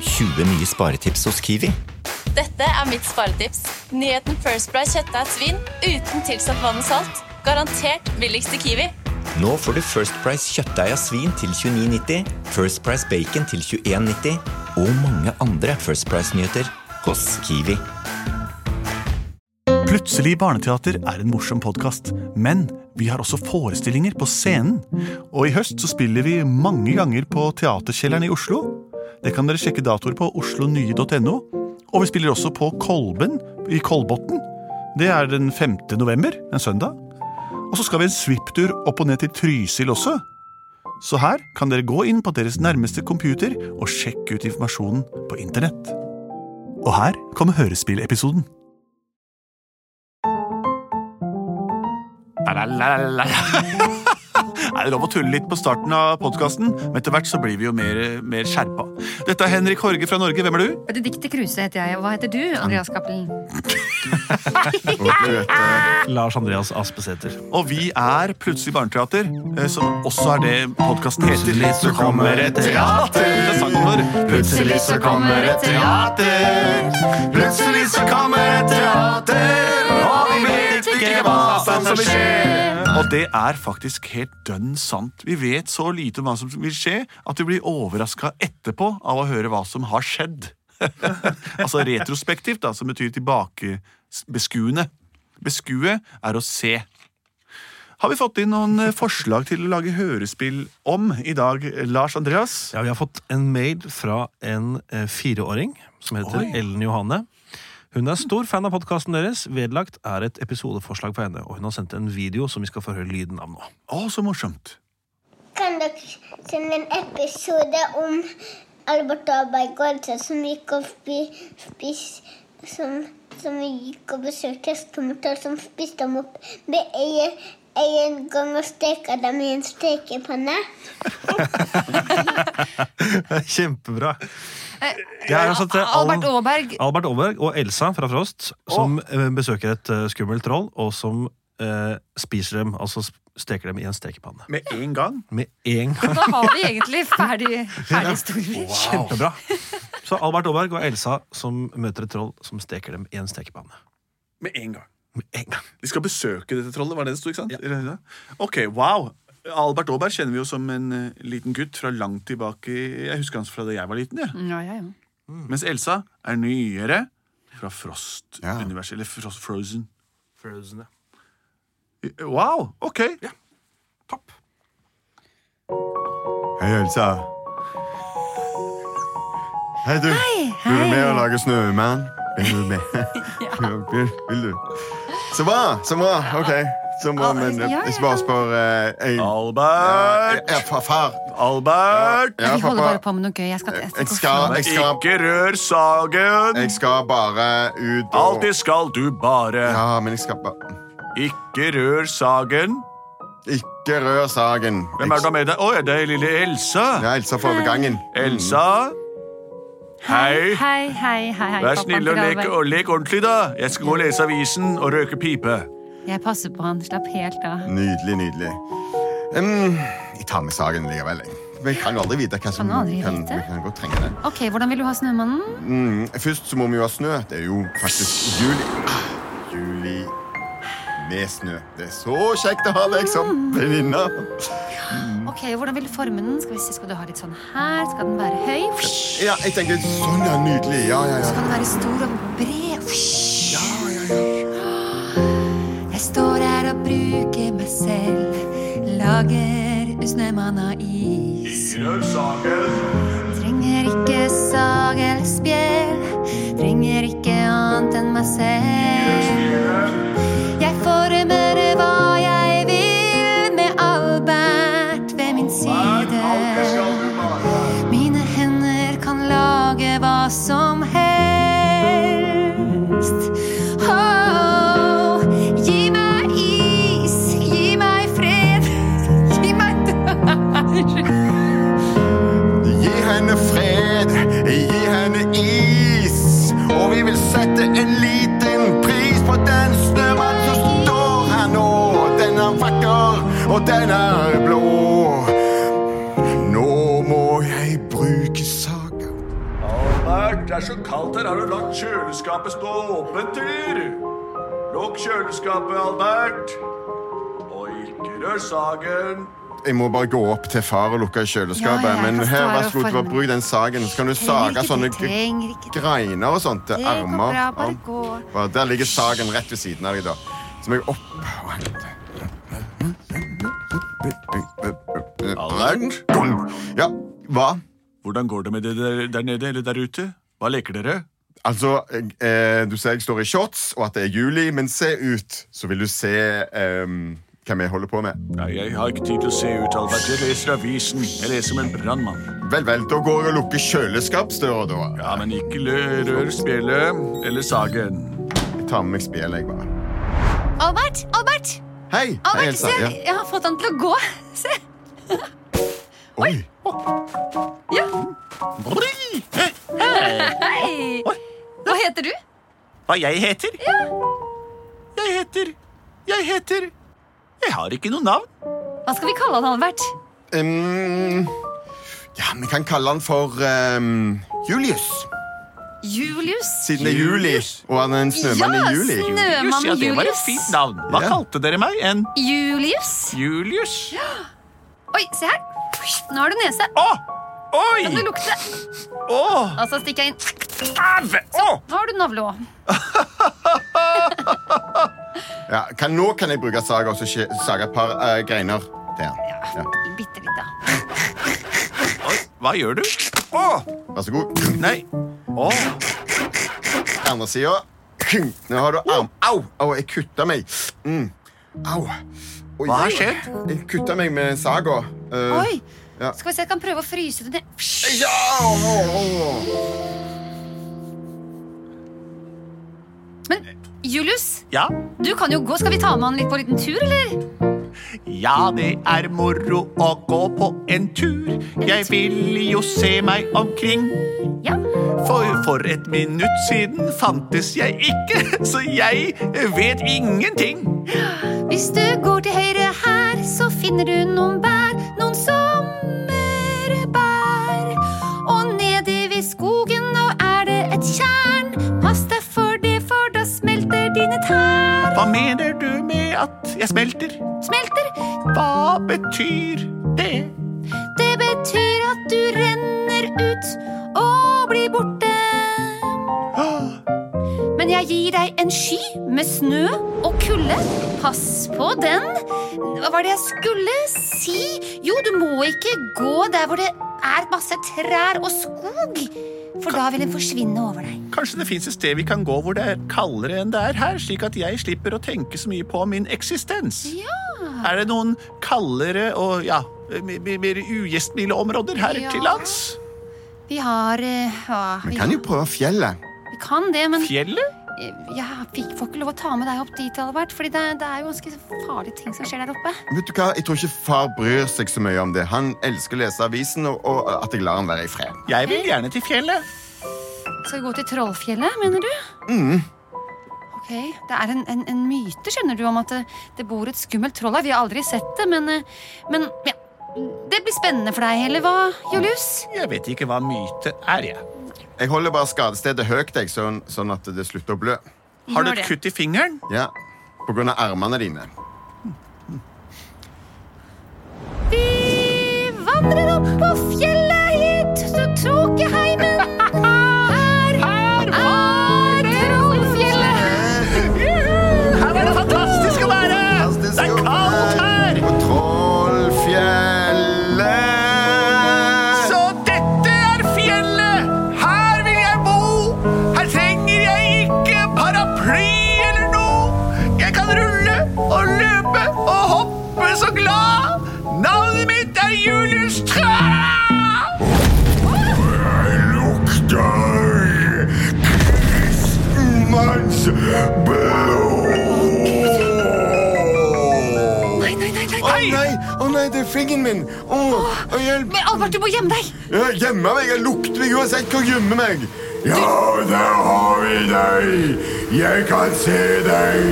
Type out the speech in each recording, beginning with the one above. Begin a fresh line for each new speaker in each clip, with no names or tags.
20 nye sparetips hos Kiwi.
Dette er mitt sparetips. Nyheten First Price kjøttdeig svin uten tilsatt vann og salt. Garantert billigst i Kiwi.
Nå får du First Price kjøttdeig av svin til 29,90, First Price bacon til 21,90 og mange andre First Price-nyheter hos Kiwi.
Plutselig barneteater er en morsom podkast, men vi har også forestillinger på scenen. Og i høst så spiller vi mange ganger på Teaterkjelleren i Oslo. Det kan dere sjekke datoer på oslonye.no. Og vi spiller også på Kolben i Kolbotn. Det er den 5. november, en søndag. Og så skal vi en svipptur opp og ned til Trysil også. Så her kan dere gå inn på deres nærmeste computer og sjekke ut informasjonen på internett. Og her kommer hørespillepisoden. Lalalala. Er det lov å tulle litt på starten av podkasten? Men etter hvert så blir vi jo mer, mer skjerpa. Dette er Henrik Horge fra Norge. Hvem er du?
Benedicte Kruse heter jeg, og hva heter du, Andreas Cappelen?
Lars Andreas Aspesæter.
Og vi er Plutselig barneteater, eh, som også er det podkasten heter.
Plutselig så kommer et teater.
Det er sangen vår.
Plutselig så kommer et teater. Plutselig så kommer et teater, og vi vet ikke hva som vil skje.
Og det er faktisk helt dønn sant. Vi vet så lite om hva som vil skje, at vi blir overraska etterpå av å høre hva som har skjedd. altså retrospektivt, da, som betyr tilbakebeskuende. Beskue er å se. Har vi fått inn noen eh, forslag til å lage hørespill om i dag, Lars Andreas?
Ja, vi har fått en mail fra en eh, fireåring som heter
Oi.
Ellen Johanne. Hun er stor fan av podkasten deres. Vedlagt er et episodeforslag på henne, og hun har sendt en video som vi skal få høre lyden av nå.
Å, så morsomt.
Kan dere sende en episode om Albert Abergård som gikk og spi, spis, som, som gikk og besøkte hestemotor som spiste dem opp med en, en gang og steka dem i en stekepanne?
Kjempebra.
Eh,
Jeg har altså til
Albert
Al-
Aaberg.
Albert Aaberg og Elsa fra Frost, som eh, besøker et eh, skummelt troll, og som eh, spiser dem, altså sp- steker dem i en stekepanne.
Med en gang?
Med en gang.
Da har vi egentlig ferdig, ferdig historier.
Kjempebra. Så Albert Aaberg og Elsa som møter et troll som steker dem i en stekepanne.
Med en gang.
Med en gang.
De skal besøke dette trollet, var det det sto? ikke sant? Eller- Ok, wow. Albert Aaberg kjenner vi jo som en eh, liten gutt fra langt tilbake. i- Jeg husker han fra da jeg var liten. Ja.
Ja, ja, ja.
Mm.
Mens Elsa er nyere, fra Frost-universet. Eller Frost Frozen.
Frozen, ja.
Wow, ok.
Topp.
Hei, Elsa. Hei, du. Blir du med og lager snømann? Blir du med? Vil, vil du? Så bra, så bra. Ok. Så bra, men
ja, ja,
jeg jeg bare
ja.
spør eh, en...
Albert!
Ja, fa- far.
Albert!
Ja,
Vi holder bare
pappa.
på med noe gøy. Jeg skal, jeg skal,
Jeg
gå
skal,
fra-
jeg skal,
Ikke rør sagen!
jeg skal bare ut og...
Alltid skal du bare.
Ja, men jeg skal bare...
Ikke rør sagen.
Ikke rør sagen.
Hvem er det du har med deg? Å, ja, det er lille Elsa.
Ja, Elsa får over gangen.
Elsa? Hei.
Hei, hei, hei, hei.
Vær
pappaen
snill
til
og lek,
Albert.
og lek ordentlig, da. Jeg skal gå og lese avisen og røyke pipe.
Jeg passer på han. Slapp helt av.
Nydelig, nydelig. Ehm, jeg tar med saken likevel. jeg. Men jeg kan jo aldri vite hva som
Kan du aldri
kan,
vite?
kan godt trenge det.
Ok, Hvordan vil du ha Snømannen?
Mm, først så må vi jo ha snø. Det er jo faktisk juli. Ah, Juli med snø. Det er så kjekt å ha deg som venninne.
Ok, Hvordan vil du forme den? Skal vi se, skal du ha litt sånn her? Skal den være høy? Fysj.
Ja, jeg tenker sånn, ja. Nydelig. Ja, ja, ja.
Skal den være stor og bred? Fysj. Jeg står her og bruker meg selv. Lager snømann av is. Trenger ikke sag eller spjeld. Trenger ikke annet enn meg selv. Jeg former hva jeg vil med Albert ved min side. Mine hender kan lage hva som helst. Åh, gi meg is, gi meg fred, gi meg dør.
Gi henne fred, gi henne is. Og vi vil sette en liten pris på den snømannen som står her nå. Den er vakker, og den er blå. Nå må jeg bruke saga.
Albert, det er så kaldt her. Har du lagt kjøleskapet stå åpent, eller? Lukk kjøleskapet, Albert. Og ikke rør sagen.
Jeg må bare gå opp til far og lukke kjøleskapet.
Ja, ja, jeg
men
kan stå
her,
her
vær
og
så god,
følge
bare
med.
bruk den sagen. Så kan du sage
ikke
sånne
det, trenger ikke det.
greiner og sånt til
Det går
armer.
bra, bare
Ja,
gå.
bare- Der ligger sagen rett ved siden av deg, da. Så må jeg opp og hente.
Albert?
Ja, hva?
Hvordan går det med det der, der nede eller der ute? Hva leker dere?
Altså, jeg- eh, Du ser jeg står i shorts, og at det er juli, men se ut, så vil du se ehm, hva vi holder på med.
Nei, jeg har ikke tid til å se ut, Albert. Jeg leser avisen. Jeg leser som en brannmann.
Vel, vel, da går jeg og lukker kjøleskapsdøra, da.
Ja, men ikke lø- rør spjelet eller sagen.
Jeg tar med meg spjeldet, jeg, bare.
Albert! Albert!
Hei! Hei,
Albert,
Elsa.
se!
Ja.
Jeg har fått han til å gå. Se!
Oi!
Ja. Hei! Hva heter du?
Hva jeg heter? Jeg heter Jeg heter Jeg har ikke noe navn.
Hva skal vi kalle han, Albert?
ehm, ja, vi kan kalle han for ehm, Julius.
Julius?
Siden det er juli, og han er en snømann i juli.
Julius,
Snømann
ja, det var et
Julius.
fint navn. Hva
Ja.
kalte dere meg? En
Julius.
Julius?
Oi, se her. Nå har du nese.
Å!
Kan du
Oi!
lukte?
Å!
Og så stikker jeg inn.
Av! Å!
Nå har du navle òg.
Ja, kan, nå kan jeg bruke saga og så skje- sage et par eh, greiner. Der. Ja.
Bitte litt, da.
Oi, Hva gjør du? Å!
Vær så god.
Nei. Å!
Andre sida. Nå har du arm... Au! Au, jeg kutta meg. Mm. Au. Oi,
Hva har skjedd?
Jeg kutta meg med saga. Eh,
Oi.
Ja.
Skal vi se, jeg kan prøve å fryse det ned.
ja!
Men Julius,
Ja.
du kan jo gå. Skal vi ta med han litt på en liten tur, eller?
ja, det er moro å gå på en tur. Jeg vil jo se meg omkring.
Ja.
For, for et minutt siden fantes jeg ikke, så jeg vet ingenting.
Hvis du går til høyre her, så finner du noen bær. Noen sommerbær. Og nede ved skogen nå er det et tjern. Pass deg for det, for da smelter dine tær.
Hva mener du med at jeg smelter?
Smelter.
Hva betyr det?
Det betyr at du renner ut og blir borte. Men jeg gir deg en sky med snø og kulde. Pass på den. Hva var det jeg skulle si? Jo, du må ikke gå der hvor det er masse trær og skog. For da vil den forsvinne over deg.
Kanskje det fins et sted vi kan gå hvor det er kaldere enn det er her, slik at jeg slipper å tenke så mye på min eksistens?
Ja.
Er det noen kaldere og ja, mer, mer ugjestmilde områder her
Ja.
til lands?
Vi har eh, ja,
Vi
vi,
kan jo prøve fjellet.
vi kan det, men
Fjellet?
eh, jeg fikk, får ikke lov å ta med deg opp dit, Albert. Fordi det, det er jo ganske farlige ting som skjer der oppe.
Vet du hva? Jeg tror ikke far bryr seg så mye om det. Han elsker å lese avisen, og, og at jeg lar han være i fred.
Jeg
Eh.
vil gjerne til fjellet.
Skal vi gå til Trollfjellet, mener du? Ok, Det er en, en, en myte skjønner du, om at det, det bor et skummelt troll her. Vi har aldri sett det, men, eh, men ja. Det blir spennende for deg, eller hva, Julius?
Jeg vet ikke hva myte er, jeg.
Jeg holder bare skadestedet høyt, jeg, sånn, sånn at det slutter å blø.
Har du et
Gjør det.
kutt i fingeren?
Ja, På grunn av armene dine.
Vi vandrer opp på fjellet i tr- tråkeheimen. Her, Her er Trollfjellet.
Her er det fantastisk å være! Det er kaldt her!
På Trollfjellet
Så dette er fjellet! Her vil jeg bo! Her trenger jeg ikke paraply eller noe! Jeg kan rulle og løpe og hoppe så glad! Navnet mitt er Julius Træ!
Jeg lukter kristenmannsblod.
Nei, nei, nei, nei.
Å nei, å nei, det er fingeren min! Å, å hjelp!
Men Albert, du må gjemme deg.
Jeg gjemmer meg, jeg lukter meg uansett hvor jeg gjemmer meg. Ja, der har vi deg! Jeg kan se deg,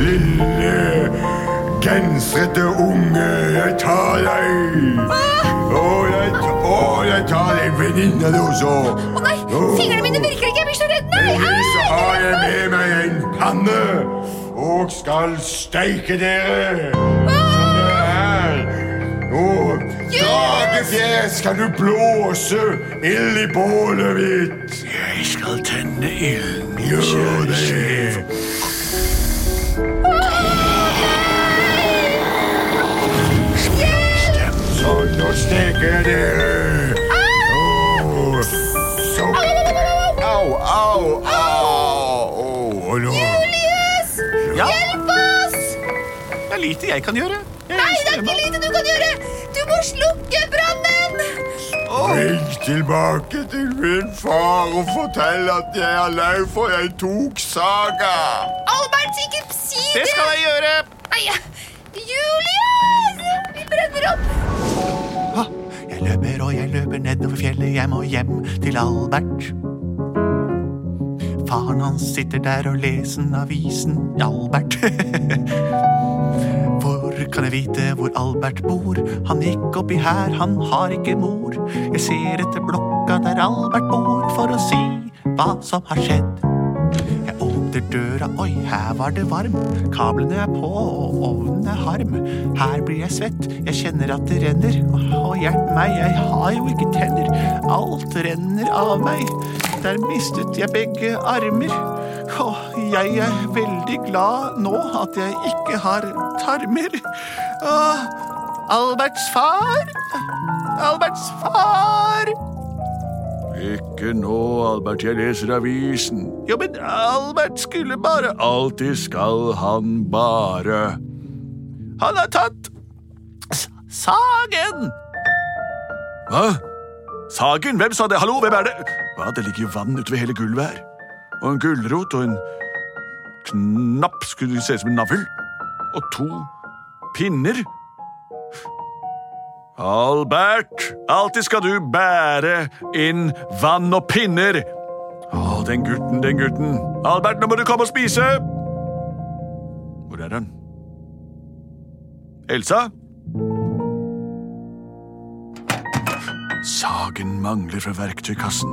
lille gensrete unge. Jeg tar deg. Å, Å, jeg, å, jeg tar en venninne nå, så.
Å nei, fingrene mine virker ikke! Jeg blir så redd! Nei!
Heldigvis så
Au!
har jeg med meg en panne og skal steike dere. Sånn det er. Nå, dragefjes, kan du blåse ild i bålet mitt?
Jeg skal tenne ilden.
Gjør det. Sånn, nå steker jeg dere. Åh, Så. Au, au, au. Åh, og nå.
Ja,
Hjelp oss!
det er lite jeg kan gjøre. Jeg
Nei, det er
svømmer.
ikke lite du kan gjøre! Du må slukke brannen!
Ring tilbake til min far og fortell at jeg er lei for jeg tok saga.
Albert, ikke si det!
Det skal jeg gjøre.
Nei, Julius! Vi brenner opp!
Ha, Jeg løper og jeg løper nedover fjellet, jeg må hjem til Albert. Faren hans sitter der og leser avisen Albert. Hvor kan jeg vite hvor Albert bor? Han gikk oppi her, han har ikke mor. Jeg ser etter blokka der Albert bor, for å si hva som har skjedd. Jeg åpner døra, oi, her var det varm. Kablene er på, og ovnen er harm. Her blir jeg svett, jeg kjenner at det renner. Og hjelp meg, jeg har jo ikke tenner. Alt renner av meg. Der mistet jeg begge armer. Og jeg er veldig glad nå at jeg ikke har tarmer. Åh, Alberts far! Alberts far!
Ikke nå, Albert. Jeg leser avisen.
Jo, men Albert skulle bare
Alltid skal han bare
Han har tatt s- sagen!
Hva? Sagen? Hvem sa det? Hallo, hvem er det? Hva, Det ligger jo vann utover hele gulvet her. Og en gulrot og en knapp skulle se ut som en navl. Og to pinner. Albert, alltid skal du bære inn vann og pinner. Å, den gutten, den gutten. Albert, nå må du komme og spise. Hvor er han? Elsa? Sagen mangler fra verktøykassen.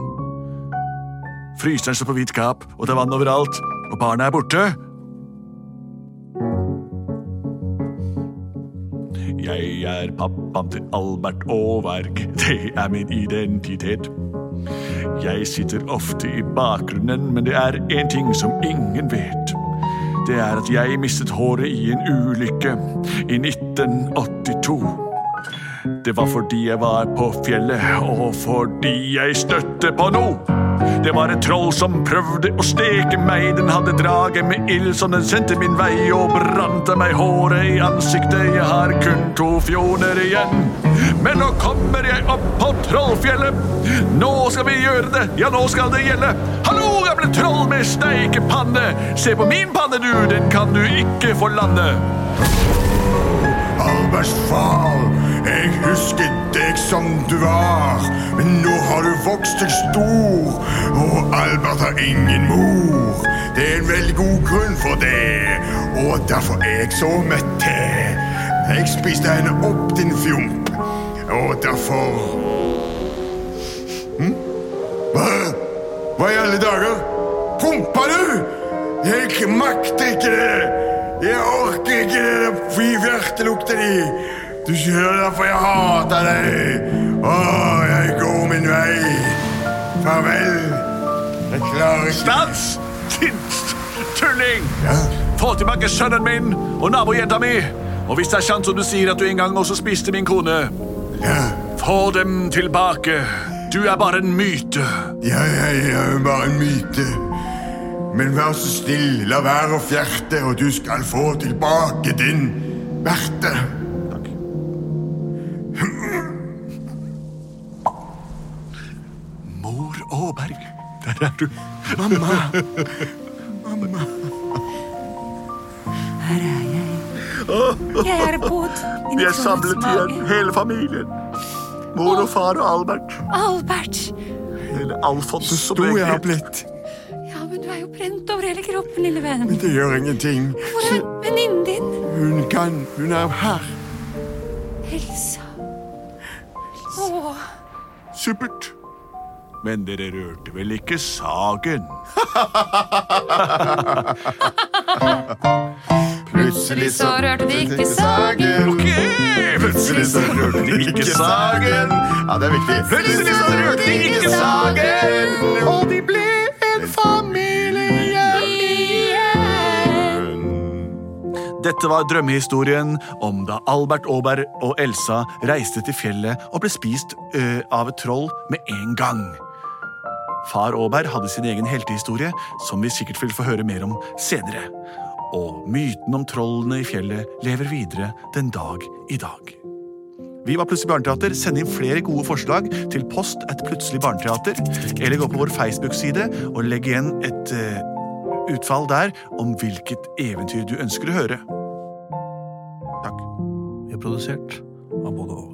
Fryseren står på vidt gap, og det er vann overalt, og barna er borte. Jeg er pappaen til Albert Aaberg. Det er min identitet. Jeg sitter ofte i bakgrunnen, men det er én ting som ingen vet. Det er at jeg mistet håret i en ulykke i 1982. Det var fordi jeg var på fjellet, og fordi jeg støtte på noe. Det var et troll som prøvde å steke meg. Den hadde draget med ild som den sendte min vei, og brante meg håret i ansiktet. Jeg har kun to fjoner igjen. Men nå kommer jeg opp på Trollfjellet. Nå skal vi gjøre det, ja, nå skal det gjelde. Hallo, gamle troll med steikepanne. Se på min panne, du, den kan du ikke forlande.
Alberts far, jeg husker deg som du var. Men nå har du vokst deg stor, og Albert har ingen mor. Det er en veldig god grunn for det, og derfor er jeg så mett. Jeg spiste henne opp, din fjomp, og derfor hm? Hva? Hva i alle dager? Prompa du? Jeg makter ikke det. Jeg orker ikke den fyrverkelukten di. Du skjønner derfor jeg hater deg. Å, jeg går min vei. Farvel. Jeg klarer ikke
Stans! Din tulling!
Ja.
Få tilbake sønnen min og nabojenta mi. Og hvis det er sant som du sier at du en gang også spiste min kone,
Ja,
få dem tilbake. Du er bare en myte.
ja, ja, ja, bare en myte. Men vær så snill, la være å fjerte, og du skal få tilbake din verte.
Takk. Mor Aaberg, der er du.
Her er jeg. Jeg er bodd i
Vi er
naturens
samlet igjen,
mage.
hele familien. Mor og far og Albert.
Albert!
Eller Alfonsus, som
Stor jeg
egentlig
har
het.
blitt.
Ja, men du er jo brent over hele kroppen, lille venn.
Men det gjør ingenting.
Hvor er venninnen din?
Hun kan. Hun er her.
Elsa. Å,
Supert. Men dere rørte vel ikke sagen?
Plutselig
så rørte de ikke sagen.
Ok. Plutselig så rørte de ikke sagen. Ja, det er viktig. Plutselig så rørte de ikke sagen. Og de ble en familie igjen.
Dette var drømmehistorien om da Albert Aaberg og Elsa reiste til fjellet og ble spist ø, av et troll med en gang. Far Aaberg hadde sin egen heltehistorie, som vi sikkert vil få høre mer om senere. Og myten om trollene i fjellet lever videre den dag i dag. Vi var Plutselig barneteater. Send inn flere gode forslag til post at plutselig barneteater, eller gå på vår Facebook-side og legg igjen et eh, utfall der om hvilket eventyr du ønsker å høre. Takk.
Vi er produsert av både og.